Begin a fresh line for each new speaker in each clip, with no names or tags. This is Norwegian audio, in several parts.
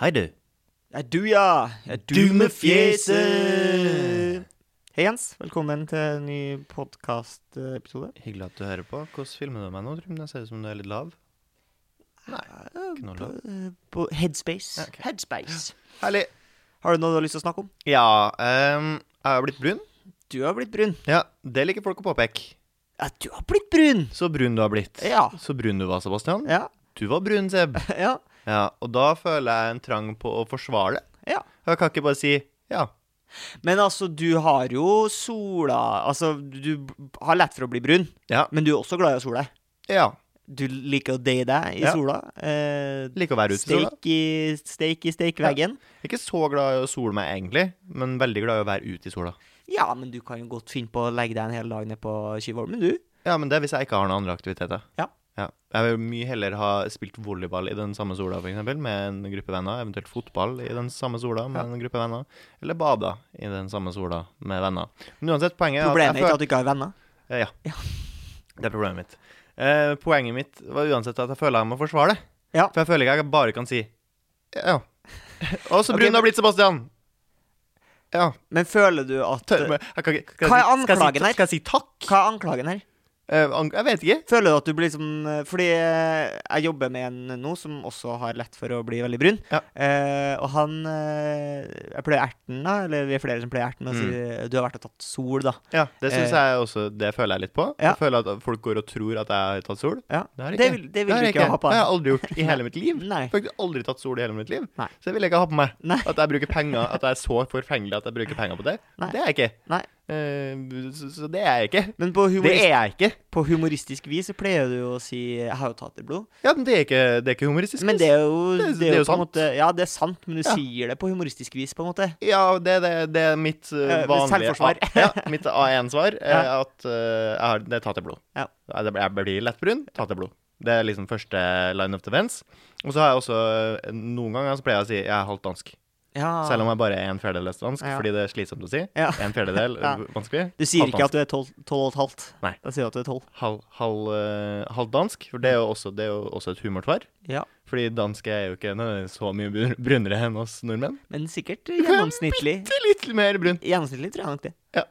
Hei, du.
Det er du, ja. Det er
Du med fjeset.
Hei, Jens. Velkommen til en ny podkastepisode.
Hyggelig at du hører på. Hvordan filmer du meg nå, Trym? Det ser ut som du er litt lav. Nei, ikke noe lav.
På Headspace.
Ja, ok.
Headspace.
Herlig.
Har du noe du har lyst til å snakke om?
Ja, ehm, jeg har blitt brun.
Du har blitt brun.
Ja, det liker folk å påpeke.
Ja, du har blitt brun!
Så brun du har blitt.
Ja.
Så brun du var, Sebastian.
Ja.
Du var brun, Seb.
Ja.
Ja, og da føler jeg en trang på å forsvare det.
ja.
Jeg kan ikke bare si ja.
Men altså, du har jo sola Altså, du b- har lett for å bli brun,
Ja.
men du er også glad i å sole.
Ja.
Du liker å date deg i
Ja.
sola. Eh,
Liker å være ute i sola.
steik i steik i steikveggen.
Jeg er Ikke så glad i å sole meg, egentlig, men veldig glad i å være ute i sola.
Ja. men du kan jo godt finne på å legge deg en hel dag nede på Tjuvholmen, du.
Ja, men det er hvis jeg ikke har noen andre aktiviteter.
Ja.
Jeg vil mye heller ha spilt volleyball i den samme sola, f.eks., med en gruppe venner. Eventuelt fotball i den samme sola med en gruppe venner. Eller bada i den samme sola med venner. Men uansett, poenget er
Problemet er ikke
føler-
at du ikke har venner.
Eh, Ja.
Ja.
Det er problemet mitt. Eh, poenget mitt var uansett at jeg føler jeg må forsvare det.
Ja.
For jeg føler ikke jeg bare kan si ja. Å, så brun
Ok,
du
men-
har blitt, Sebastian! Ja.
Men føler du at
Tør, men jeg kan ikke, skal
Hva er
jeg si- skal jeg si-
anklagen her?
Skal jeg si takk?
Hva er anklagen her?
Eh, an- jeg vet ikke.
Føler du at du blir liksom Fordi eh, jeg jobber med en nå som også har lett for å bli veldig brun.
Ja.
Eh, og han eh, Jeg pleier erten, da. Eller vi er flere som pleier erten og sier Du har vært og tatt sol, da.
Ja, det synes
Eh,
jeg også Det føler jeg litt på.
ja.
Jeg føler at folk går og tror at jeg har tatt sol.
Ja.
Det har jeg
Det
ikke.
vil, det vil
har
du
jeg
ikke ha
Det har
på deg.
jeg aldri gjort i hele mitt liv.
Nei.
Jeg har faktisk aldri tatt sol i hele mitt liv.
Nei.
Så det vil jeg ikke ha på meg.
Nei.
At jeg bruker penger At jeg er så forfengelig at jeg bruker penger på det.
Nei.
Det er jeg ikke.
Nei.
Eh, så, så det er jeg ikke.
Men på,
Det
humorist,
er jeg ikke.
på humoristisk vis så pleier du jo å si Jeg har jo tatt i blod.
Ja, men det er ikke, det er ikke humoristisk.
Men det er jo,
Det-
det er jo på en
sant.
måte Ja, det er sant, men du
Ja.
sier det på humoristisk vis, på en måte.
Ja, det, det, det er mitt eh,
Eh,
vanlige
selvforsvar.
A- ja, mitt A1-svar. er
Ja.
At eh, jeg har, det er tatt i blod.
Ja.
Jeg blir- Jeg blir lettbrun, tatt i blod. Det er liksom første line of defense. Og så har jeg også eh, Noen ganger så pleier jeg å si jeg er halvt dansk.
Ja.
Selv om jeg bare er en fjerdedels dansk,
Ah. Ja.
fordi det er slitsomt å si.
Ja.
En fjerdedel,
Ja.
eh, vanskelig.
Du sier
Halvt
ikke at du er tolv tolv og et halvt.
Nei.
Da sier du at du er tolv.
Halv, halv, eh, halvt dansk, for det er jo også, det er jo også et humorsvar.
Mm. Ja.
Fordi danske er jo ikke nødvendigvis så mye brun- brunere enn oss nordmenn.
Men sikkert gjennomsnittlig.
Det er litt mer brun,
Gjennomsnittlig tror jeg nok det.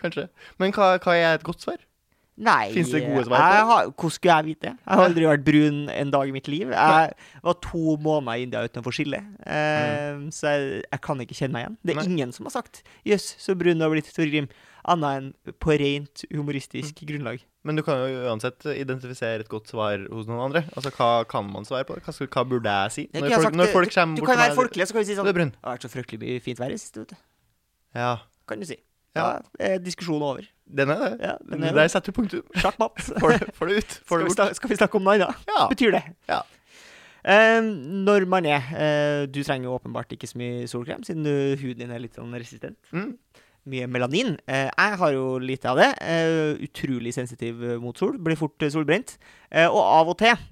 kanskje. Men hva, hva er et godt svar?
Nei
Finnes det gode svar på
jeg
det?
har, Hvordan skulle jeg vite det? Jeg har aldri vært brun en dag i mitt liv. Jeg var to måneder i India uten å få skille, eh, så jeg, jeg kan ikke kjenne meg igjen. Det er
Nei.
ingen som har sagt 'jøss, så brun du har blitt, Torgrim', annet enn på rent humoristisk grunnlag.
Men du kan jo uansett identifisere et godt svar hos noen andre. Altså, Hva kan man svare på? Hva, skal, hva burde jeg si?
Jeg kunne
Når
ha
folk,
sagt
når
det-
folk kommer
Du
bort
kan
til
være
meg
folkelig, og så kan du si
Du
sånn
er
'Det
brun.
har vært så fryktelig mye fint vær i det siste', vet du.
Ja,
Kan du si.
Ja.
Da er diskusjonen over.
den er det.
Ja, den er
Der setter du punktum.
Sjakk matt.
Får det, får det ut. Får
Skal vi,
det bort.
snak- skal vi snakke om noe annet?
Ja.
Betyr det.
Ja.
Eh, når man er eh, Du trenger jo åpenbart ikke så mye solkrem, siden du, huden din er litt sånn resistent.
Mm.
Mye melanin. Eh, jeg har jo lite av det. Eh, utrolig sensitiv eh, mot sol. Blir fort eh, solbrent. Eh, og av og til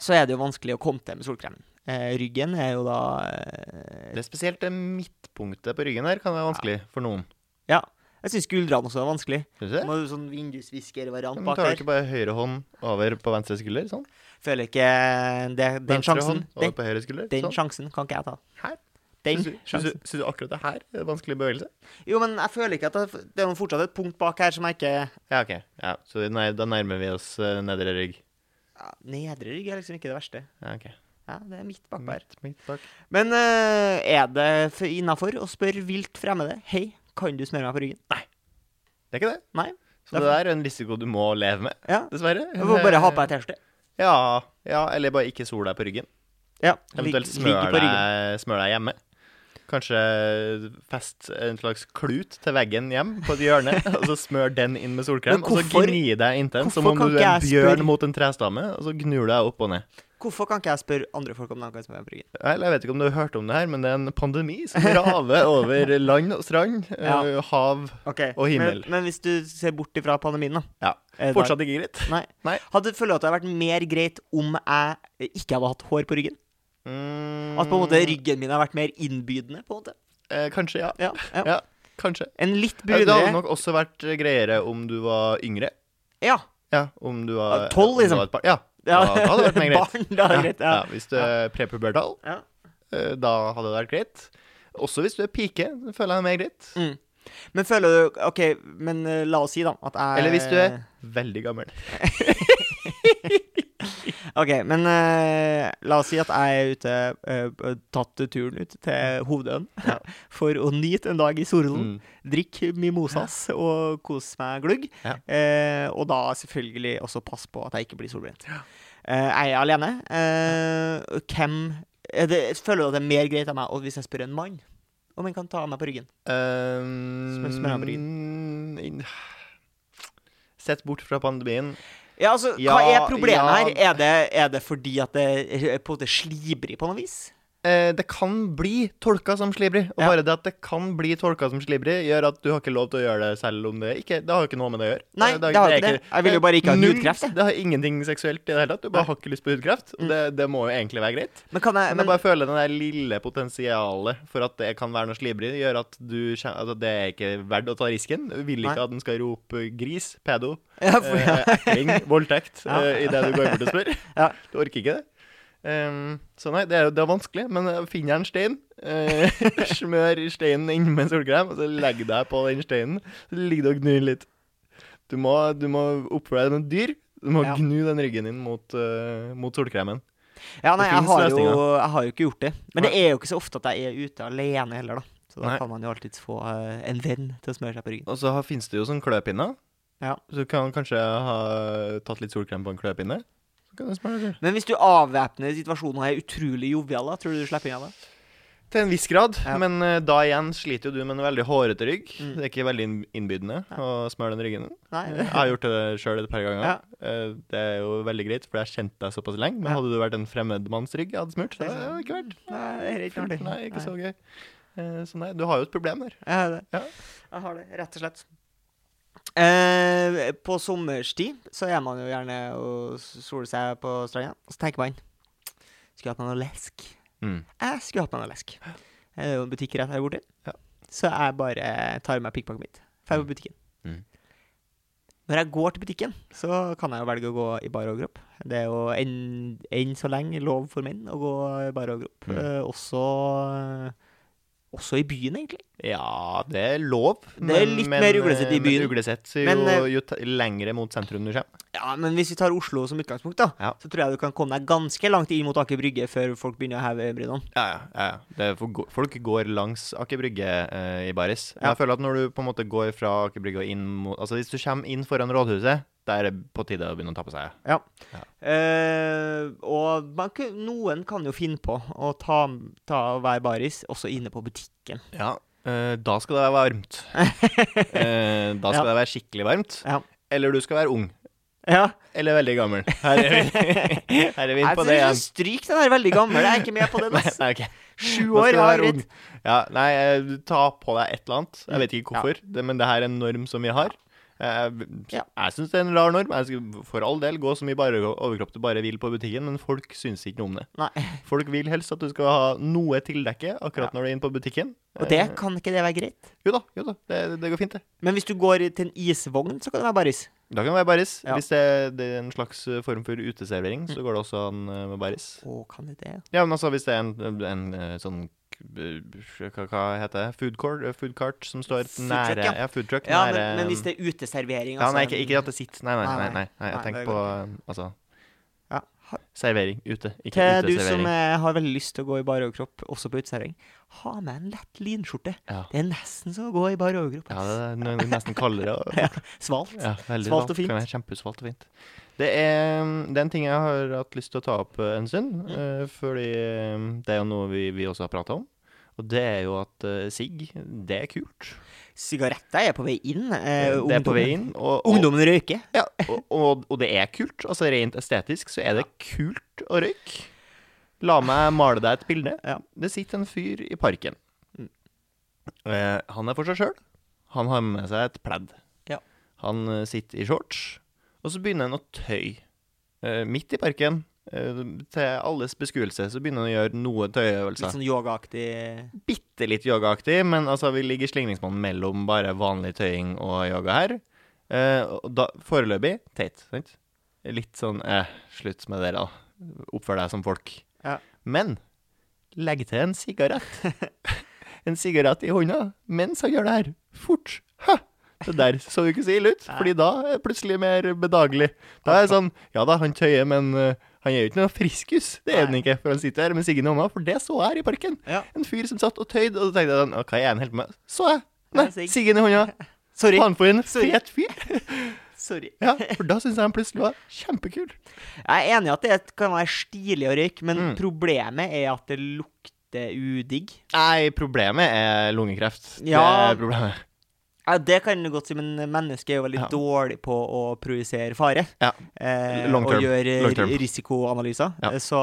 så er det jo vanskelig å komme til med solkremen. Eh, ryggen er jo da eh,
Det er spesielt det midtpunktet på ryggen her kan være vanskelig for noen.
Ja. Jeg syns skuldrene også er vanskelig.
Synes du det?
Må jo sånn vindusviskervariant
Men
bak
tar du
der.
ikke bare høyre hånd over på venstre skulder? sånn?
Føler ikke eh, det, den
Venstre
sjansen.
hånd
Den,
over på høyre skulder?
den
sånn?
sjansen kan ikke jeg ta.
Her?
Den
Syns du- Syns
sjansen.
du- syns du akkurat det her er en vanskelig bevegelse?
Jo, men jeg føler ikke at det, det er noen fortsatt et punkt bak her som jeg ikke
Ja, OK. Ja, så nei, da nærmer vi oss eh, nedre rygg.
ja, Nedre rygg er liksom ikke det verste.
Ja, ok.
Ja, Det er midt bakpå her.
Midt, midt bak.
Men eh, er det innafor å spørre vilt fremmede Hei, kan du smøre meg på ryggen?
Det er ikke det.
Nei.
Så det der er en risiko du må leve med,
Ja.
dessverre.
Jeg får bare ha på ei T-skjorte.
Ja, ja, eller bare ikke sol deg på ryggen.
Ja.
Eventuelt
ligge- ligge
smør
på ryggen.
deg, smør deg hjemme. Kanskje fest en slags klut til veggen hjem på et hjørne, og så smør den inn med solkrem.
Men
Og så
hvorfor-
gni deg intenst, som
hvorfor
om
kan
du
ikke
er en
jeg
bjørn
spørre-
mot en trestamme, og så gnur du deg opp og ned.
Hvorfor kan ikke jeg spørre andre folk om de kan smøre meg på ryggen?
Vel, jeg vet ikke om du har hørt om det her, men det er en pandemi som raver over land og strand,
Ja.
eh, hav
Ok,
Og himmel.
Men, men hvis du ser bort ifra pandemien, da.
Ja.
er det-
Fortsatt ikke greit.
Nei.
Nei.
Hadde, føler du at det hadde vært mer greit om jeg eh, ikke hadde hatt hår på ryggen?
Mm,
At på en måte ryggen min har vært mer innbydende? på en måte?
eh, Kanskje, ja.
Ja, ja.
Ja, kanskje.
En litt
Ja, Det hadde
brunere
nok også vært eh, greiere om du var yngre.
Ja.
Ja, om du var
Ja,
om
tolv,
du
liksom.
var et par- Ja, da hadde det vært mer greit.
Barn, da er det greit.
ja,
Ja.
hvis du er prepubertal,
Ja.
eh, da hadde det vært greit. Også hvis du er pike, føler jeg det er mer greit.
Mm. Men føler du OK, men eh, la oss si, da, at jeg
Eller hvis du er veldig gammel.
OK, men eh, la oss si at jeg er ute eh, Tatt turen ut til Hovedøen
Mm. Ja.
for å nyte en dag i solen.
Mm.
Drikke mimosas og kose meg glugg.
Ja.
Eh, og da selvfølgelig også passe på at jeg ikke blir solbrent. Eh, jeg er alene. Eh, hvem er det, Føler du at det er mer greit av meg og hvis jeg spør en mann om han kan ta meg på ryggen?
Um,
Sm- smør av
inn- Ehm, Sett bort fra pandemien.
Ja, altså,
Ja,
Hva er problemet
ja.
her? Er det, er det fordi at det er på en måte slibrig på noe vis?
Eh, det kan bli tolka som slibrig. Og
Ja.
bare det at det kan bli tolka som slibrig, gjør at du har ikke lov til å gjøre det selv om det ikke Det har jo ikke noe med det å gjøre.
Nei, det har jo ikke det. Jeg vil jo bare ikke ha
Null-
hudkreft, jeg. Mm.
Det har ingenting seksuelt i det hele tatt. Du bare har ikke lyst på hudkreft. og Det, det må jo egentlig være greit.
Men kan jeg,
Men jeg bare føler den der lille potensialet for at det kan være noe slibrig, gjør at du kjen- altså, det er ikke verdt å ta risken. Du vil ikke
Nei.
at den skal rope gris, pedo,
ja, for,
eh, ekling, voldtekt
Ja.
eh, i det du går bort og spør.
Ja.
Du orker ikke det. Ehm, så nei, det er, jo- det er vanskelig, men eh, finner jeg en stein, eh, smør steinen inn med solkrem, og så legger deg på den steinen, så ligger du og gnur litt. Du må, du må oppføre deg som et dyr. Du må
Ja.
gnu den ryggen din mot, eh, mot solkremen.
ja,
det
nei, jeg
finnes
har, jo,
løsninger.
jeg har jo ikke gjort det. Men det er jo ikke så ofte at jeg er ute alene heller, da. Så da
Nei.
kan man jo alltids få eh, en venn til å smøre seg på ryggen.
Og så har- finnes det jo sånn kløpinner.
Ja.
Så du kan kanskje ha tatt litt solkrem på en kløpinne. Så kan du smøre det.
Men hvis du avvæpner situasjonen og er utrolig jovial, da, tror du du slipper inn av det?
Til en viss grad,
Ja.
men eh, da igjen sliter jo du med en veldig hårete rygg.
Mm.
Det er ikke veldig inn- innbydende å smøre den ryggen.
Nei.
Jeg har gjort det sjøl et par ganger.
Ja.
Eh, Det er jo veldig greit, for jeg har kjent deg såpass lenge. Men
Ja.
hadde du vært en fremmed manns rygg jeg hadde smurt, så hadde det ikke vært
Nei, det er ikke artig.
Nei, ikke så gøy. Eh, Så nei, du har jo et problem der.
Jeg har det.
Ja.
Jeg har det, rett og slett. Eh, på sommerstid så er man jo gjerne og soler seg på stranda. Og så tenker man Skulle hatt meg noe lesk. Jeg skulle hatt meg noe lesk. Det er jo en butikk rett her borte.
Ja.
Så jeg bare tar med pikkpakket mitt. Drar på butikken.
Mm.
Når jeg går til butikken, så kan jeg jo velge å gå i bar overkropp. Det er jo enn enn så lenge lov for menn å gå i bar overkropp.
Mm.
Eh, også, eh, også i byen, egentlig.
Ja, det er lov.
er litt mer uglesett i
eh,
byen.
Men uglesett jo,
Men, eh,
jo t- lengre mot sentrum du kommer.
Ja, men hvis vi tar Oslo som utgangspunkt, da,
Ja.
så tror jeg du kan komme deg ganske langt inn mot Aker Brygge før folk begynner å heve øyenbrynene.
Ja, ja, ja, ja. Det er for, folk går langs Aker Brygge eh, i baris. Men
Ja.
Jeg føler at når du på en måte går fra Aker Brygge og inn mot Altså hvis du kommer inn foran rådhuset, da er det på tide å begynne å ta på seg.
Eh, og man, kan- noen kan jo finne på å ta, ta og være baris også inne på butikken.
Ja. eh, da skal det være varmt. Eh, da skal det være skikkelig varmt.
Ja.
Eller du skal være ung.
Ja,
Eller veldig gammel. Her er vi, Her er vi
jeg
inne på det
tror
igjen.
Stryk den her veldig gammel, jeg er ikke med på den.
Nei,
ass.
nei, ok.
Sju
Nå skal
år, ja,
du være ung.
greit.
Ja, nei, eh, du ta på deg et eller annet. Jeg vet ikke hvorfor, det, men det her er en norm som vi har. Jeg,
Ja.
jeg syns det er en rar norm. Jeg skal for all del gå så mye bare overkropp du bare vil på butikken, men folk syns ikke noe om det.
Nei.
Folk vil helst at du skal ha noe tildekke akkurat når du er inne på butikken.
Og
Eh,
det kan ikke det være greit.
Jo da, jo da. Det, det går fint, det.
Men hvis du går i- til en isvogn, så kan du være baris.
Da kan det være baris.
Ja. Mm.
Hvis det, det er en slags eh, form for uteservering, så går det også an eh, med baris.
Å, kan du det?
Ja, men altså hvis det er en, en eh, sånn k- hva, hva heter det? Food court, eh, food cart som står
Food
nære
truck, ja.
Ja, food truck
Ja,
nære eh,
men, men hvis det er uteservering, altså,
Ja, um, nei,
en-
ikke, ikke at det sitter Nei, nei, nei.
Nei, nei.
nei, nei jeg
Nei, det
tenker
går
på eh, altså
Ja. Ha-
servering ute. Ikke
Til du som
uteservering.
eh, har veldig lyst til å gå i bar overkropp, også på uteservering, ha med en lett linskjorte.
Ja.
Det er nesten som å gå i bar overkropp.
Ja,
ass.
det er noe nesten kaldere. og-
Svalt.
Ja, veldig
Svalt og fint.
Kan være Kjempesvalt og fint. Det er, mm, det er en ting jeg har hatt lyst til å ta opp eh, en stund,
Mm.
eh, fordi eh, det er jo noe vi, vi også har prata om. Og det er jo at eh, sigg, det er kult.
Sigaretter er på vei inn. Eh,
det er på vei inn.
ungdommen-
Og, og,
Ungdommen røyker.
Ja, og, og, og det er kult. Altså Rent estetisk så er det kult å røyke. La meg male deg et bilde.
Ja.
Det sitter en fyr i parken. Eh, han er for seg sjøl. Han har med seg et pledd.
Ja.
Han eh, sitter i shorts, og så begynner han å tøye. Eh, midt i parken, eh, til alles beskuelse, så begynner han å gjøre noe tøyeøvelser
Litt sånn yogaaktig.
bitte litt yogaaktig, men altså, vi ligger slingringsmonn mellom bare vanlig tøying og yoga her. Eh, og da, foreløpig teit. Sant? Litt sånn eh, slutt med dere, da. Oppfør deg som folk.
Ja.
Men legger til en sigarett. en sigarett i hånda mens han gjør det her. Fort. Hæ? Det der så jo ikke så ille ut, fordi da er det plutselig mer bedagelig. Da er det sånn Ja da, han tøyer, men eh, han er jo ikke noe friskus. Det er han ikke, for han sitter her med siggen i hånda, for det så jeg her i parken.
Ja.
En fyr som satt og tøyde, og da tenkte jeg sånn «Å, Hva er han helt på med? Så jeg!
Ja,
Nei,
sigg.
siggen i hånda.
Sorry.
Faen for en
Sorry.
fet fyr.
Sorry.
Ja, for da syns jeg han plutselig var kjempekul.
Jeg er enig i at det kan være stilig å røyke, men
Mm.
problemet er at det lukter udigg.
Nei, problemet er lungekreft.
Ja.
Det er problemet.
Ja, det kan du godt si, men mennesket er jo veldig
Ja.
dårlig på å projisere fare.
Ja.
Eh,
Long term.
Og gjøre
Long term.
ri- risikoanalyser.
Ja.
Eh, Så,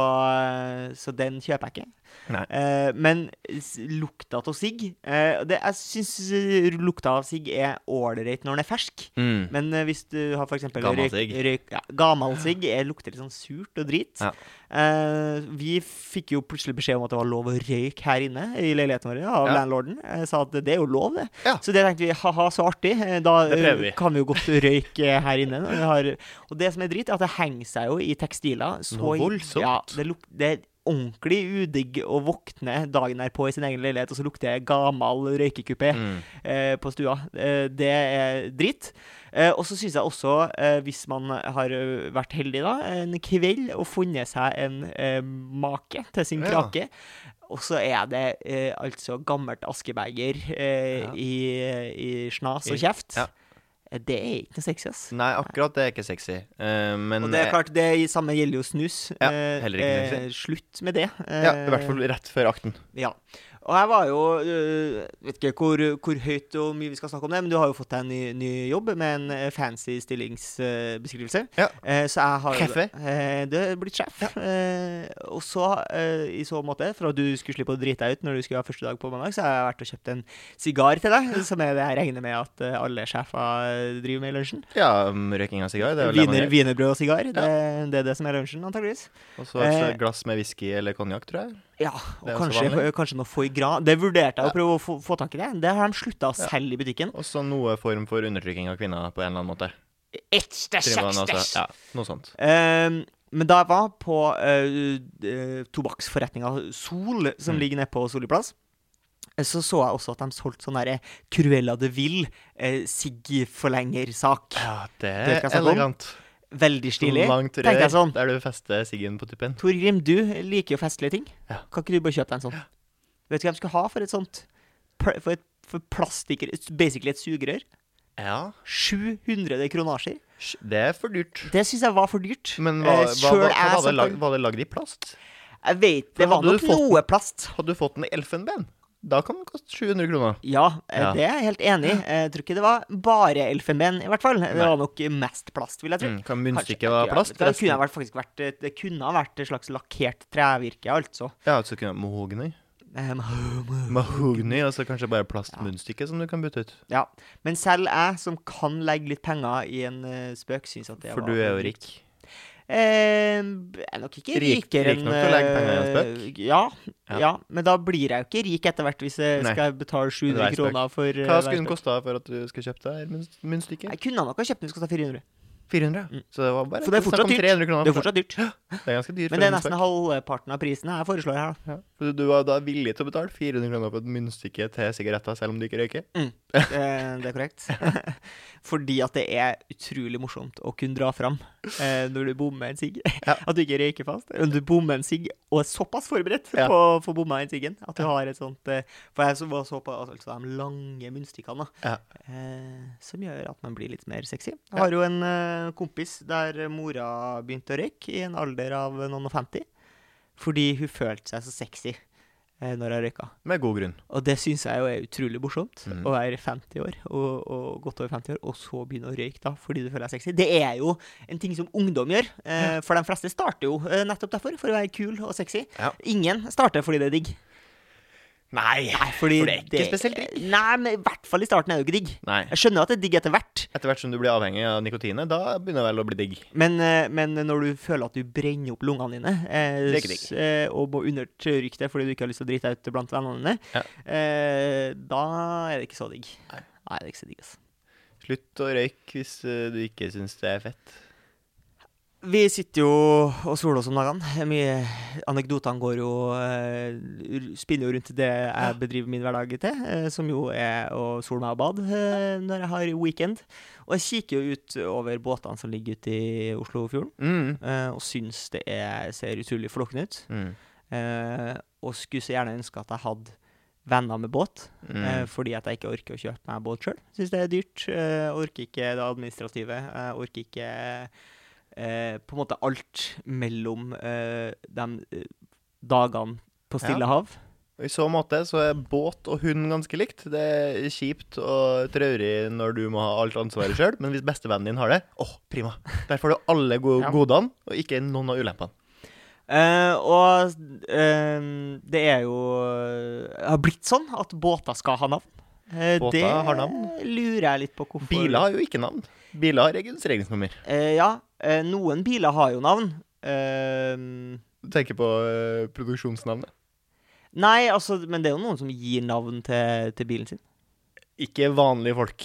så den kjøper jeg ikke.
Nei.
Eh, men s- lukta av sigg eh, det, Jeg syns lukta av sigg er ålreit når den er fersk.
Mm.
Men eh, hvis du har f.eks.
Gammel sigg.
ja, gammel sigg eh, lukter litt sånn surt og drit.
Ja.
Eh, vi fikk jo plutselig beskjed om at det var lov å røyke her inne i leiligheten vår av
Ja.
landlorden. Eh, sa at det er jo lov, det.
Ja.
Så det tenkte vi, ha-ha, så artig. Eh, Da
Det prøver
eh,
vi.
kan vi jo godt røyke her inne. når vi Har, og det som er dritt, er at det henger seg jo i tekstiler. Så
Noe
i-
voldsomt.
Ja, det, luk, det er ordentlig udigg å våkne dagen derpå i sin egen leilighet, og så lukter det gammel røykekupé
Mm.
eh, på stua. Eh, det er dritt. Eh, og så syns jeg også, eh, hvis man har eh, vært heldig da, en kveld og funnet seg en eh, make til sin
Ja.
krake, og så er det eh, altså gammelt askebeger eh,
Ja.
i, i snas og
I-
kjeft.
ja.
Eh, Det er ikke noe sexy, ass.
Nei, akkurat det er ikke sexy. Eh, men
Og det er klart, det i- samme gjelder jo snus.
Ja,
Eh,
heller ikke sexy.
eh, slutt med det.
eh, ja, I hvert fall rett før akten.
Ja. Og jeg var jo øh, Vet ikke hvor, hvor høyt og mye vi skal snakke om det, men du har jo fått deg en ny, ny jobb med en eh, fancy stillingsbeskrivelse.
Ja.
så jeg har
Sjef, jeg.
Eh, du er blitt sjef. Eh, og så, eh, i så måte, for at du skulle slippe å drite deg ut når du skulle ha første dag på mandag, så har jeg vært og kjøpt en sigar til deg, som er det jeg regner med at eh, alle sjefer eh, driver med i lunsjen.
Ja, um, røyking av sigar. Det er vel det man
Wiener-
gjør.
Wienerbrød og sigar. Det, det er det som er lunsjen, antageligvis.
Og så et
eh,
glass med whisky eller konjakk, tror jeg.
Ja,
Det
og
er også
kanskje,
vanlig.
kanskje noe foie gras. Det vurderte jeg å prøve å få, få tak i. Det Det har de slutta å
Ja.
selge i butikken.
Og så noe form for undertrykking av kvinner på en eller annen måte.
Etste,
Trimmer man
sekste.
altså- Ja, noe sånt.
Ehm, men da jeg var på uh, tobakksforretninga Sol, som
Mm.
ligger nede på Solli plass, eh, så så jeg også at de solgte sånn derre Cruella de Ville eh, sigg-forlengersak.
Ja, det
Det skal
er
jeg snakke om.
elegant.
Veldig stilig.
Langt
Tenkte jeg
rør
sånn.
der du fester siggen på tuppen.
Torgrim, du liker jo festlige ting.
Ja.
Kan ikke du bare kjøpe deg en sånn? Vet du hva de skal ha for et sånt? Pl- For et for plastikk... Basically et sugerør.
Ja,
700 kronasjer.
sj- det er for dyrt.
Det syns jeg var for dyrt.
Men
Eh,
hva, hva,
selv
hva, var,
jeg
det
satt
lag,
en-
var det lagd i plast?
Jeg vet, det var
hadde du
nok
fått-
noe plast.
Hadde du fått den i elfenben, da kan den koste 700 kroner.
Ja, eh,
Ja.
det er jeg helt enig i. Jeg tror ikke det var bare elfenben, i hvert fall. Det
Nei.
var nok mest plast, vil jeg tro.
Mm, kan
Kanskje-
munnstykket være
ja,
plast?
Det kunne,
resten-
ha vært, faktisk vært, eh, det kunne ha vært et slags lakkert trevirke, altså.
Ja, altså kunne Mahogni.
Um,
Mahogni, altså kanskje bare plastmunnstykke som du kan bytte ut.
Ja, men selv jeg som kan legge litt penger i en eh, spøk, syns at det
For
var
du er jo rik.
Eh, jeg er nok ikke
Rik-
rikere
rik nok til å legge penger i en
eh, Ja, ja.
Ja.
men da blir jeg jo ikke rik etter hvert hvis jeg
Nei.
skal
Det
betale
er
700
en spøk.
kroner for eh,
Hva
hver
skulle den
spøk.
kosta for at du skulle kjøpt deg munn- munnstykket?
Jeg kunne nok ha kjøpt den hvis det kosta 400.
400.
Mm.
Så det var bare
Så det er
snakk om
fortsatt dyrt.
300
Det
kroner.
er fortsatt dyrt.
Det er ganske dyrt.
Men
for
det er
en
nesten
spøk.
halvparten av prisen jeg foreslår her, da.
Ja. Så Du var da villig til å betale 400 kroner for et munnstykke til sigaretter, selv om du ikke røyker?
Eh, Det er korrekt. Fordi at det er utrolig morsomt å kunne dra fram eh, når du bommer en sigg.
Ja.
At du ikke røyker fast. Når du bommer en sigg og er såpass forberedt
Ja.
på å få bomma den siggen at du har et sånt eh, For jeg så- var så på altså, de lange munnstykkene, da.
Ja.
Eh, som gjør at man blir litt mer sexy. Jeg har jo en eh, kompis der mora begynte å røyke i en alder av noen og femti. Fordi hun følte seg så sexy eh, når hun røyka.
Med god grunn.
Og det syns jeg jo er utrolig morsomt.
Mhm.
Å være 50 år, og, og godt over 50 år, og så begynne å røyke da, fordi du føler deg sexy. Det er jo en ting som ungdom gjør. Eh, for de fleste starter jo eh, nettopp derfor, for å være kul og sexy.
Ja.
Ingen starter fordi det er digg.
Nei!
Nei, fordi
For det er ikke spesielt
digg. Nei, men i hvert fall i starten er det jo ikke digg.
Nei.
Jeg skjønner jo at det er digg etter hvert,
Etter hvert som du blir avhengig av nikotinet, da begynner det vel å bli digg.
men, eh, men når du føler at du brenner opp lungene dine, eh,
Det er ikke digg.
s- eh, og må undertrykke det fordi du ikke har lyst til å drite deg ut blant vennene dine,
Ja.
eh, da er det ikke så digg.
Nei.
Nei, det er ikke så digg, altså.
Slutt å røyke hvis eh, du ikke syns det er fett.
Vi sitter jo og soler oss om dagene. Mye Anekdotene går jo eh, r- Spinner jo rundt det jeg bedriver min hverdag til, eh, som jo er å sole meg og bade eh, når jeg har weekend. Og jeg kikker jo ut over båtene som ligger ute i Oslofjorden,
Mm.
eh, og syns det er, ser utrolig flokkende ut.
Mm.
Eh, og skulle så gjerne ønske at jeg hadde venner med båt,
Mm.
eh, fordi at jeg ikke orker å kjøpe meg båt sjøl. Syns det er dyrt. Eh, orker ikke det administrative. Jeg orker ikke eh, på en måte alt mellom eh, de eh, dagene på
Ja.
stille hav.
I så måte så er båt og hund ganske likt. Det er kjipt og traurig når du må ha alt ansvaret sjøl, men hvis bestevennen din har det, åh, prima. Der får du alle go
Ja.
godene, og ikke noen av ulempene.
Eh, og eh, det er jo Det har blitt sånn at båter skal ha navn. Eh,
Båter
det
har navn.
lurer jeg litt på hvorfor
Biler har jo ikke navn. Biler har registreringsnummer.
Eh, ja, eh, noen biler har jo navn. Eh,
Du tenker på eh, produksjonsnavnet.
nei, altså, men det er jo noen som gir navn til, til bilen sin.
Ikke vanlige folk.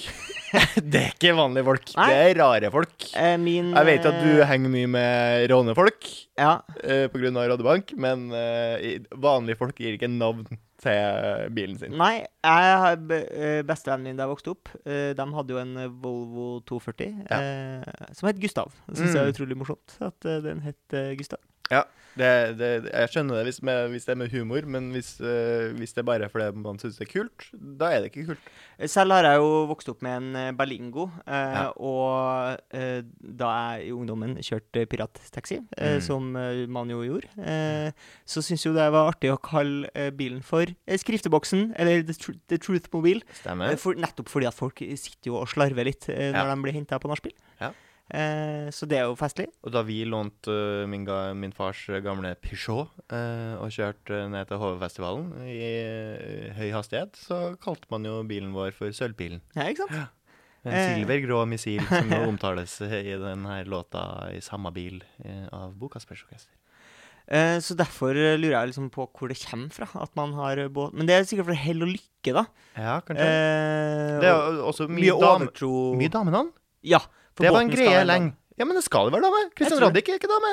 det er ikke vanlige folk.
Nei.
Det er rare folk.
Eh, min
Jeg vet at du
eh,
henger mye med rånefolk
Ja.
eh, på grunn av Radiobank, men eh, i- vanlige folk gir ikke navn til bilen sin.
Nei, jeg har be- eh, bestevennen min da jeg vokste opp, eh, de hadde jo en eh, Volvo 240
Ja. Mm.
eh, som het Gustav. Det syns jeg er utrolig morsomt at eh, den het eh, Gustav.
Det, det, jeg skjønner det hvis, med, hvis det er med humor, men hvis, eh, hvis det er bare fordi man syns det er kult, da er det ikke kult.
Selv har jeg jo vokst opp med en eh, Berlingo, eh,
Ja.
og eh, da jeg i ungdommen kjørte pirattaxi, eh,
Mm.
som eh, man jo gjorde, eh, så syntes jo det var artig å kalle eh, bilen for eh, Skrifteboksen, eller The, tr the Truth-mobil, eh,
Stemmer.
for, nettopp fordi at folk sitter jo og slarver litt eh, når
Ja.
de blir henta på nachspiel.
Ja.
Eh, så det er jo festlig.
Og da vi lånte eh, min, ga, min fars gamle Peugeot eh, og kjørte ned til HV-festivalen i eh, høy hastighet, så kalte man jo bilen vår for Sølvbilen.
Ja, ikke sant?
En
Eh.
silvergrå missil som jo omtales eh, i denne låta i samme bil eh, av Bokas Orkester.
Eh, så derfor eh, lurer jeg liksom på hvor det kommer fra at man har eh, båt. Men det er sikkert for hell og lykke, da.
Ja, kanskje.
Eh,
det er
og
jo også mye,
mye
dame,
overtro.
mye damenavn.
Ja. for
Det var
båten
en
skal
greie
være dame.
lenge. Ja, men det skal jo være dame. Christian
tror det.
Radich er ikke dame.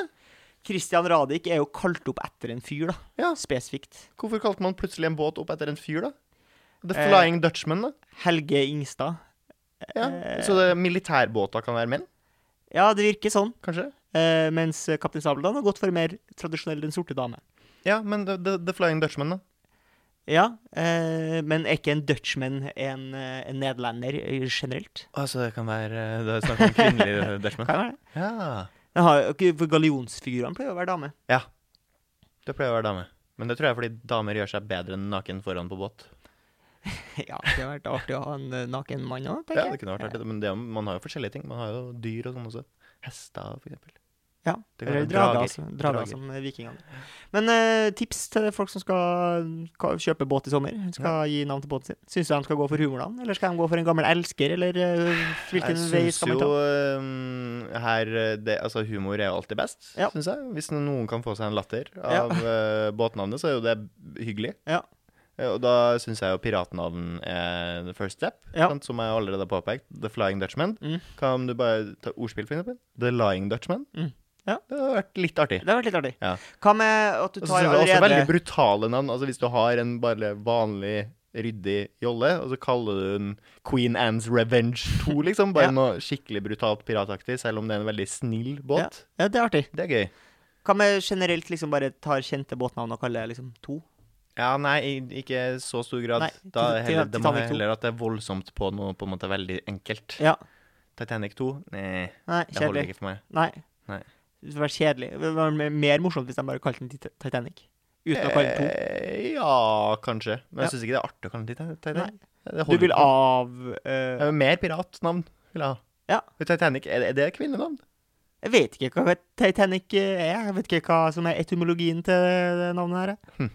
Christian Radich er jo kalt opp etter en fyr, da.
Ja.
Spesifikt.
Hvorfor kalte man plutselig en båt opp etter en fyr, da? The
Eh.
Flying Dutchman, da.
Helge Ingstad.
Ja. Så det, militærbåter kan være menn,
Ja, det virker sånn.
kanskje?
Eh, mens Kaptein Sabeltann har gått for mer tradisjonell Den sorte dame.
Ja, men The, the, the Flying Dutchman, da.
Ja, eh, men er ikke en Dutchman en, eh, en nederlender eh, generelt?
Altså, det kan være Det er snakk om kvinnelig Dutchman.
Kan være det.
Ja.
Den har, jo ikke- for Gallionsfigurene pleier å være dame.
ja. Det pleier å være dame. Men det tror jeg er fordi damer gjør seg bedre enn naken foran på båt.
ja, det har vært artig å ha en eh, naken mann òg,
Ja,
tenker
det
jeg.
kunne vært artig, men det, er- man har jo forskjellige ting. Man har jo dyr og sånn også. Hester, for eksempel.
Ja,
Det kan
Eller
være
drager,
drager.
altså. drager
Drager.
som eh, vikingene. Men eh, tips til folk som skal ka- kjøpe båt i sommer. Skal gi navn til båten sin. Syns du de skal gå for humornavn, eller skal de gå for en gammel elsker, eller eh, hvilken vei
jeg syns
skal man
jo
ta?
øhm, her eh, det, Altså, humor er jo alltid best,
Ja.
syns jeg. Hvis noen kan få seg en latter
Ja.
av eh, båtnavnet, så er jo det hyggelig.
Ja.
Eh, Og da syns jeg jo piratnavn er the first step,
Ja.
sant? som jeg allerede har påpekt. The Flying Dutchman.
Mm.
Kan du bare ta ordspill, for eksempel? The Lying Dutchman.
Mm. Ja.
Det hadde vært litt artig.
Det har vært litt artig.
Ja.
Hva med at du
Og så synes
tar
jeg også
allerede
veldig brutale navn. Altså Hvis du har en bare vanlig, ryddig jolle, og så kaller du den Queen Anne's Revenge 2, liksom. Bare
Ja.
noe skikkelig brutalt pirataktig, selv om det er en veldig snill båt.
Ja, det er artig.
Det er gøy.
Hva med generelt liksom bare tar kjente båtnavn og kaller det liksom to?
Ja, nei, i- ikke i så stor grad.
Nei,
da
Titan-
er heller, det må
Titanic 2.
heller at det er voldsomt på noe på en måte veldig enkelt.
Ja.
Titanic 2? Nei,
Nei,
det holder
kjedelig.
ikke for meg.
Nei.
Nei.
Det hadde vært kjedelig. Det var mer morsomt hvis de bare kalte den Tit- Titanic. Uten å kalle den to.
Eh, ja, kanskje. Men jeg syns ikke det er artig å kalle den Titan- Titanic. Det
Du
holder
vil
ikke.
av eh,
Eh, Mer piratnavn vil jeg ha.
Ja.
Men Titanic, er det, er det kvinnenavn?
Jeg vet ikke hva Titanic eh, er. Jeg vet ikke hva som er etymologien til det navnet her. jeg.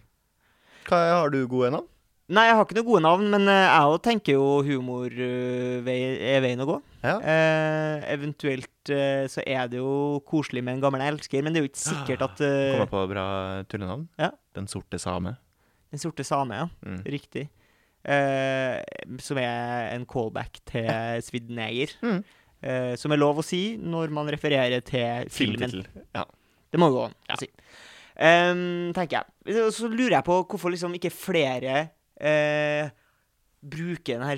Hva, har du gode navn?
Nei, jeg har ikke noe gode navn, men eh, jeg òg tenker jo humor eh, vei- er veien å gå.
Ja.
Eh, eventuelt eh, så er det jo koselig med en gammel elsker, men det er jo ikke sikkert at eh,
Ah, Kommer på bra tullenavn.
Ja.
Den sorte same.
Den sorte same, ja.
Mm.
Riktig. Eh, som er en callback til Svidd neger.
Mm.
eh, som er lov å si når man refererer til filmen.
Filmtittel. Ja.
Det må gå an
Ja.
å si. Ehm, tenker jeg. Så- Så lurer jeg på hvorfor liksom ikke flere eh, bruker denne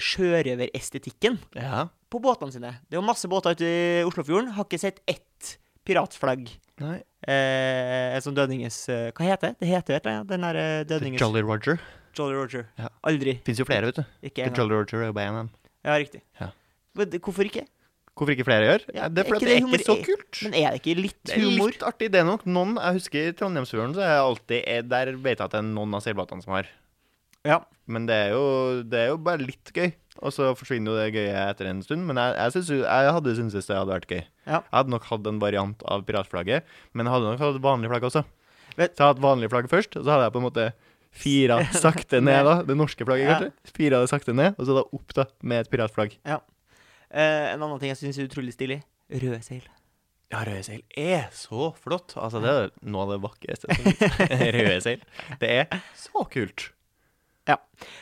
sjørøverestetikken
ja.
på båtene sine. Det er jo masse båter ute i Oslofjorden. Har ikke sett ett piratflagg.
Nei.
Eh, som Dødninges eh, Hva heter det? Det heter jo et eller annet. Den der eh, Dødninges
Jolly Roger.
Jolly Roger.
Ja.
Aldri.
Fins jo flere, vet du.
Ikke
The
engang.
Jolly Roger er jo bare en av dem.
Ja, riktig.
Ja.
Men det- Hvorfor ikke?
Hvorfor ikke flere gjør?
Ja,
det er fordi
er
det er
ikke
ikke
det
så
humor-
kult.
Men er det ikke litt
Det er
humor?
litt artig, det er nok. Noen, jeg husker i Trondheimsfjorden, så er jeg alltid er- Der vet jeg at det er noen av seilbåtene som har.
Ja.
Men det er, jo, det er jo bare litt gøy. Og så forsvinner jo det gøye etter en stund. Men jeg, jeg, synes jo, jeg hadde syntes det hadde vært gøy.
Ja.
Jeg hadde nok hatt en variant av piratflagget, men jeg hadde nok hatt vanlig flagg også. Så
Vet-
jeg hadde hatt vanlig flagg først, og så hadde jeg på en måte fira sakte ned, da. Det norske flagget,
Ja.
kanskje. Fira det sakte ned, og så da opp, da, med et piratflagg.
Eh, en annen ting jeg syns er utrolig stilig. Røde seil.
Ja, røde seil er så flott. Altså, det er noe av det vakreste som finnes. Røde seil. Det er så kult.
Eh,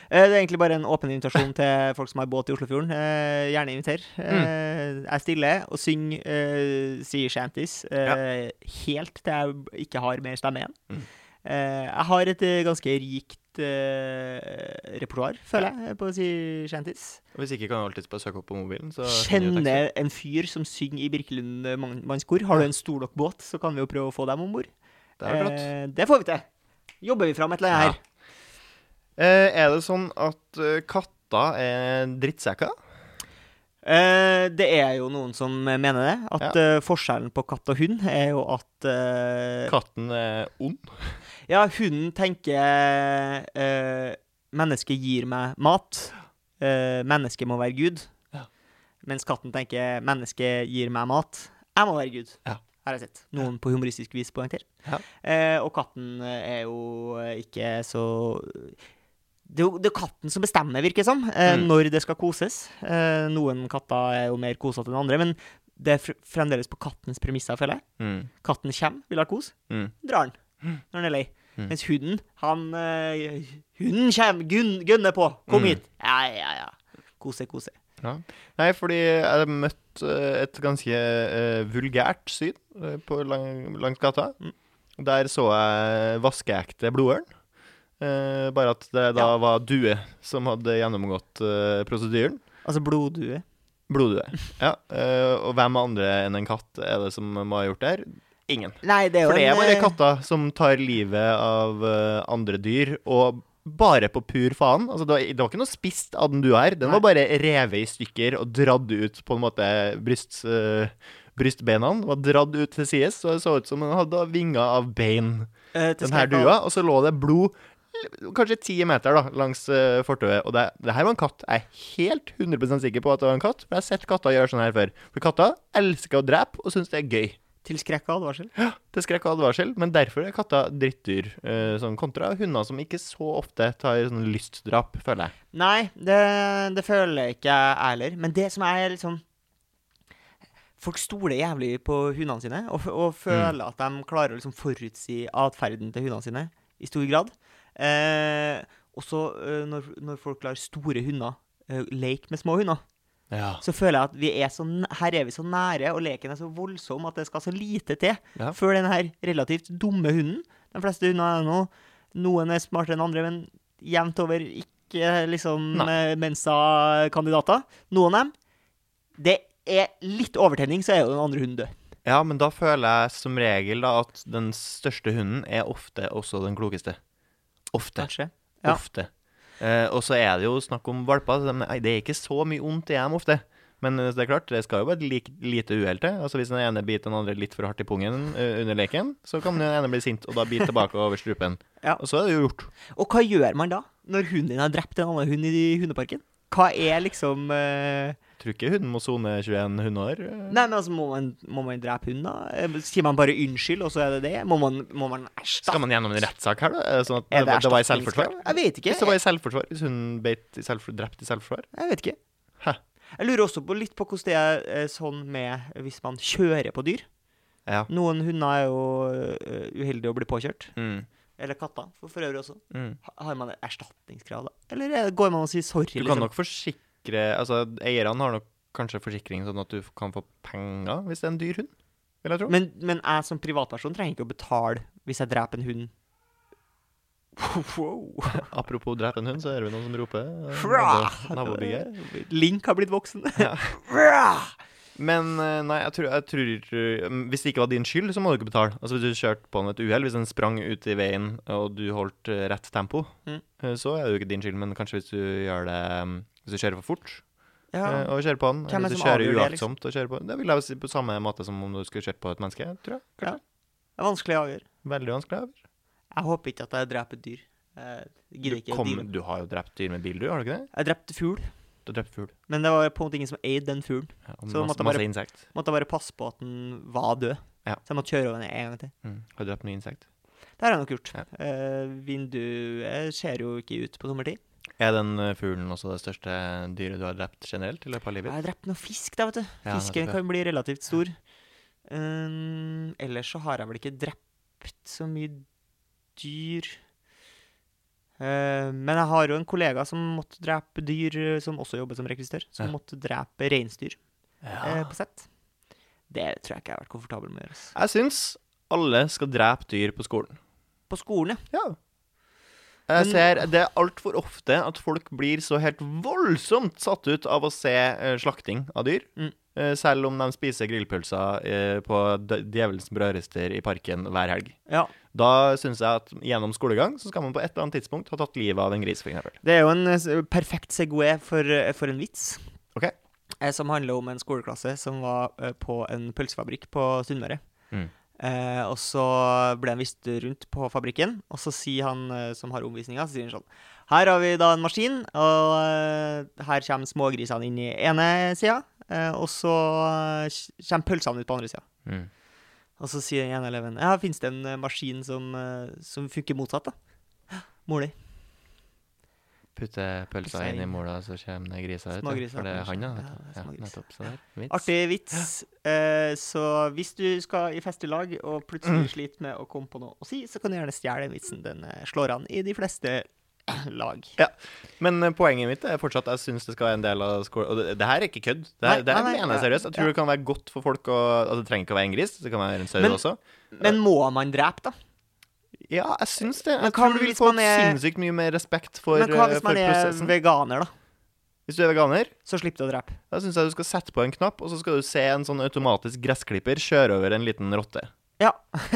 det er egentlig bare en åpen invitasjon til folk som har båt i Oslofjorden. Eh, gjerne inviter.
Mm.
Eh, jeg stiller og synger eh, sea shanties eh, helt til jeg b- ikke har mer stemme igjen.
Mm.
Eh, jeg har et eh, ganske rikt eh, repertoar, føler jeg, på sea shanties.
Og Hvis ikke kan du alltid bare søke opp på mobilen. Så finner du teksten.
Kjenner en fyr som synger i Birkelund eh, mann- mannskor. Har du en storlokkbåt, så kan vi jo prøve å få dem om bord.
Det er flott.
Eh, det får vi til. Jobber vi fram et eller annet her.
Eh, er det sånn at eh, katter er drittsekker?
Eh, det er jo noen som mener det. At eh, forskjellen på katt og hund er jo at eh,
Katten er ond?
Ja, hunden tenker eh, Mennesket gir meg mat. Eh, mennesket må være Gud.
Ja.
Mens katten tenker mennesket gir meg mat. Jeg må være Gud.
Ja.
Har jeg sett. Noen på humoristisk vis poengterer.
Ja.
Eh, og katten er jo ikke så det er jo det er katten som bestemmer, virker det som, eh,
Mm.
når det skal koses. Eh, noen katter er jo mer kosete enn andre, men det er fr fremdeles på kattens premisser, føler jeg.
Mm.
Katten kommer, vil ha kos,
Mm.
drar den når den er lei.
Mm.
Mens hunden, han eh, Hunden kommer, gun, gunner på. Kom
Mm.
hit. Ja, ja, ja. Kose, kose.
Nei, fordi jeg møtte eh, et ganske eh, vulgært syn eh, på lang, langs gata.
Mm.
Der så jeg vaskeekte blodørn. Eh, bare at det da
Ja.
var due som hadde gjennomgått eh, prosedyren.
Altså bloddue.
Bloddue. Ja. eh, og hvem andre enn en katt er det som må ha gjort det her? Ingen.
Nei, det er jo
For det er
en,
bare
eh,
katter som tar livet av eh, andre dyr, og bare på pur faen. Altså, det, var, det var ikke noe spist av den du er. Den
Nei.
var bare revet i stykker og dratt ut på en måte bryst, eh, brystbena. Den var dratt ut til sides, så det så ut som den hadde vinger av bein,
eh, til
den her
Skype-
dua. Og så lå det blod l- kanskje ti meter da, langs eh, fortauet. Og det, det her var en katt. Jeg er helt 100 sikker på at det var en katt, for jeg har sett katter gjøre sånn her før. For katter elsker å drepe og syns det er gøy.
Til skrekk og advarsel.
Det skrekk og advarsel, men derfor er katter drittdyr. eh, sånn kontra hunder som ikke så ofte tar sånn lystdrap, føler jeg.
Nei, det, det føler jeg ikke jeg heller. Men det som er liksom Folk stoler jævlig på hundene sine og, f- og føler at de klarer å liksom forutsi atferden til hundene sine i stor grad. Eh, også eh, når, når folk lar store hunder eh, leke med små hunder,
Ja.
så føler jeg at vi er så, n- her er vi så nære, og leken er så voldsom at det skal så lite til
Ja.
før den her relativt dumme hunden De fleste hunder er nå Noen er smartere enn andre, men jevnt over ikke liksom
Nei.
eh, Mensa-kandidater. Noen av dem Det er litt overtenning, så er jo den andre hunden død.
men da føler jeg som regel da at den største hunden er ofte også den klokeste. Ofte.
Kanskje. ja.
Ofte. Eh, og så er det jo snakk om valper. så de- nei, Det er ikke så mye ondt i dem ofte. Men eh, det er klart, det skal jo bare et lik, lite uhell til. Altså Hvis den ene biter den andre litt for hardt i pungen eh, under leken, så kan den ene bli sint og da bite tilbake over strupen.
Ja.
Og så er det jo gjort.
Og hva gjør man da, når hunden din har drept en annen hund i hundeparken? Hva er liksom eh,
Tror ikke hunden må sone 21 hundeår. eh.
Nei, men altså, må man, må man drepe hunden, da? Eh, Sier man bare unnskyld, og så er det det? Må man, må man erstatte
Skal man gjennom en rettssak her, da? Er det sånn at
Er
det, det var i
erstatningskrav?
selvforsvar?
Jeg vet ikke.
Hvis det var i selvforsvar, hvis hun beit i selvforsvar, drept i selvforsvar?
Jeg vet ikke.
Hæ?
Jeg lurer også på litt på hvordan det er eh, sånn med hvis man kjører på dyr.
Ja.
Noen hunder er jo eh, uheldige å bli påkjørt.
Mm.
Eller katter, for, for øvrig også.
Mm.
Ha- Har man et erstatningskrav, da? Eller eh, går man og sier sorry?
Du kan nok forsikre Altså, eierne har nok kanskje forsikring, sånn at du kan få penger hvis det er en dyr hund, vil jeg tro.
Men, men jeg som privatperson trenger ikke å betale hvis jeg dreper en hund. Wow.
Apropos drepe en hund, så hører vi noen som roper. eh,
Fra!
nabo- Nabobygget.
Link har blitt voksen.
Ja.
Fra!
Men eh, nei, jeg tror, jeg tror eh, Hvis det ikke var din skyld, så må du ikke betale. Altså Hvis du kjørte på med et uhell, hvis den sprang ut i veien og du holdt eh, rett tempo,
Mm.
eh, så er det jo ikke din skyld. Men kanskje hvis du gjør det mm, Hvis du kjører for fort
Ja.
eh, og kjører på den,
Hvem er
eller du
som
kjører
avgjør det, liksom?
uaktsomt og kjører på den, det vil jeg jo si på samme måte som om du skulle kjørt på et menneske, tror jeg.
ja. Det er vanskelig å avgjøre.
Veldig vanskelig. jeg vet.
Jeg håper ikke at jeg dreper et dyr. Jeg gidder
Du,
ikke. å
kom,
deale med-
du har jo drept dyr med bil, du, har du ikke det?
Jeg drepte fugl,
Du har drept fugl.
men det var på en måte ingen som eide den fuglen.
Ja, og
Så
masse,
måtte jeg
masse
bare-
insekt.
Måtte jeg bare passe på at den var død.
Ja.
Så jeg måtte kjøre over den en gang til.
Mm. Har du drept mye insekt?
Det har jeg nok gjort.
Ja.
Eh, vinduet ser jo ikke ut på sommertid.
Er den eh, fuglen også det største dyret du har drept generelt i løpet av
Jeg
livet?
har drept noe fisk, da, vet du.
Ja,
Fisken
nettopp, ja.
kan bli relativt stor. Um, ellers så har jeg vel ikke drept så mye dyr. Eh, men jeg har jo en kollega som måtte drepe dyr, eh, som også jobber som rekvisitør, som
Ja.
måtte drepe reinsdyr
Ja.
eh, på sett. Det tror jeg ikke jeg har vært komfortabel med å gjøre. ass.
Jeg syns alle skal drepe dyr på skolen.
På skolen, ja.
Ja. Jeg ser Det er altfor ofte at folk blir så helt voldsomt satt ut av å se eh, slakting av dyr.
Mm.
Eh, selv om de spiser grillpølser eh, på d- Djevelens brødrister i parken hver helg.
ja.
Da syns jeg at gjennom skolegang så skal man på et eller annet tidspunkt ha tatt livet av en gris, f.eks.
Det er jo en eh, s- perfekt segway for, eh, for en vits.
Ok.
Eh, Som handler om en skoleklasse som var eh, på en pølsefabrikk på Sunnmøre.
Mm.
Eh, og så ble han vist rundt på fabrikken, og så sier han eh, som har omvisninga, så sier han sånn Her har vi da en maskin, og eh, her kommer smågrisene inn i ene sida, eh, og så eh, kommer pølsene ut på andre sida.
Mm.
Og så sier den ene eleven Ja, finnes det en eh, maskin som, eh, som funker motsatt, da? Mor di.
Putte pølsa inn i mola, så kommer det griser ut. ja.
Smågriser,
For det er han, da. vet
kanskje.
du.
Ja,
Ja,
smågris.
nettopp. Så der. Vits.
Artig vits. Eh, så hvis du skal i festelag og
Mm.
plutselig sliter med å komme på noe å si, så kan du gjerne stjele den vitsen. Den eh, slår an i de fleste lag.
Ja, Men eh, poenget mitt er fortsatt at jeg syns det skal være en del av skolen. Og det, det her er ikke kødd. Det her,
Nei,
det her
nei, nei,
mener jeg
ja,
seriøst. Jeg tror
ja.
det kan være godt for folk å altså, Det trenger ikke å være en gris, det kan være en sau
Men-
også.
Men må man drepe, da?
Ja, jeg syns det.
Men
Jeg
hva
tror du vil
hvis
få
man er-
sinnssykt mye mer respekt for,
Men hva
eh,
hvis
for
man er
prosessen.
veganer, da?
Hvis du er veganer,
Så slipper du å drepe.
da syns jeg du skal sette på en knapp, og så skal du se en sånn automatisk gressklipper kjøre over en liten rotte.
Ja.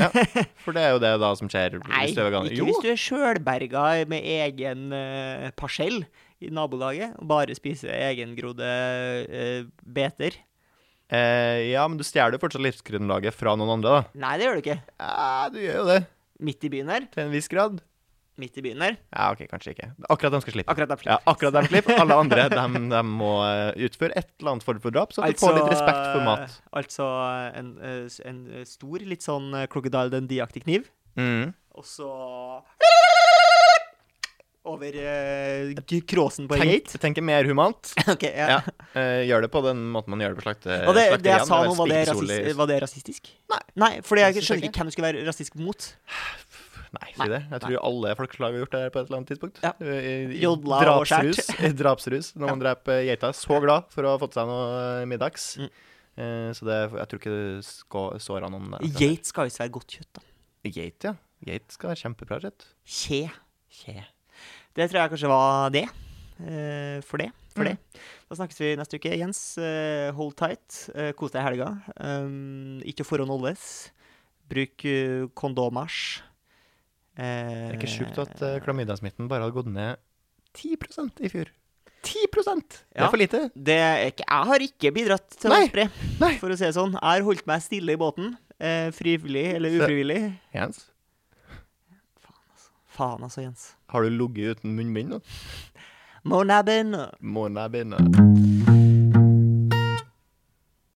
For det er jo det da som skjer
Nei,
hvis du er veganer.
ikke hvis du er sjølberga med egen eh, parsell i nabolaget og bare spiser egengrodde eh, beter.
Eh, ja, men du stjeler jo fortsatt livsgrunnlaget fra noen andre, da.
Nei, det gjør du ikke.
Ja, du gjør jo det.
Midt i byen her.
Til en viss grad.
Midt i byen her.
Ja, OK, kanskje ikke. Akkurat de skal slippe.
Akkurat der.
Ja, akkurat dem klipp. Alle andre de, må eh, utføre et eller annet form for drap, så at du får litt respekt for mat.
Altså en, eh, s- en eh, stor, litt sånn eh, Crocodile Dundee-aktig kniv,
Mm.
og så Over eh, g- kråsen på en
Tenk,
gate.
tenker mer humant.
Ok,
Ja.
ja.
Eh, gjør det på den måten man gjør det på slakte,
Og det, det
slakteriene,
jeg sa
er
nå, var det,
spikersoler-
rasist, var det rasistisk?
Nei.
Nei, fordi jeg
Jeg synes
skjønner
ikke.
ikke hvem du skulle være rasistisk mot.
Nei, si det. Jeg tror alle folkeslag har gjort det her på et eller annet tidspunkt.
Ja.
I, i,
Jodla og
drapsrus, i drapsrus når man dreper geita. Så glad for å ha fått seg noe eh, middags.
Mm.
Eh, så det, jeg tror ikke det skå- såra noen der.
Geit skal jo ikke være godt kjøtt, da.
Geit, ja. Geit skal være kjempebra kjøtt.
Kje. Det tror jeg kanskje var det. Eh, for det. For
Mm.
det. Da snakkes vi neste uke. Jens, eh, hold tight. Eh, kos deg i helga. Um, ikke forhåndholdes. Bruk eh, kondomers.
Det er ikke sjukt at eh, klamydiasmitten bare hadde gått ned 10 i fjor. 10 Det
Ja.
er for lite.
Det er ikke, jeg har ikke bidratt til å
Nei.
spre,
Nei.
for å si det sånn. Jeg har holdt meg stille i båten. eh, frivillig eller
Så-
ufrivillig.
Jens,
Faen altså, Jens.
har du ligget uten munnbind nå?
Må jeg begynne?
Må jeg begynne?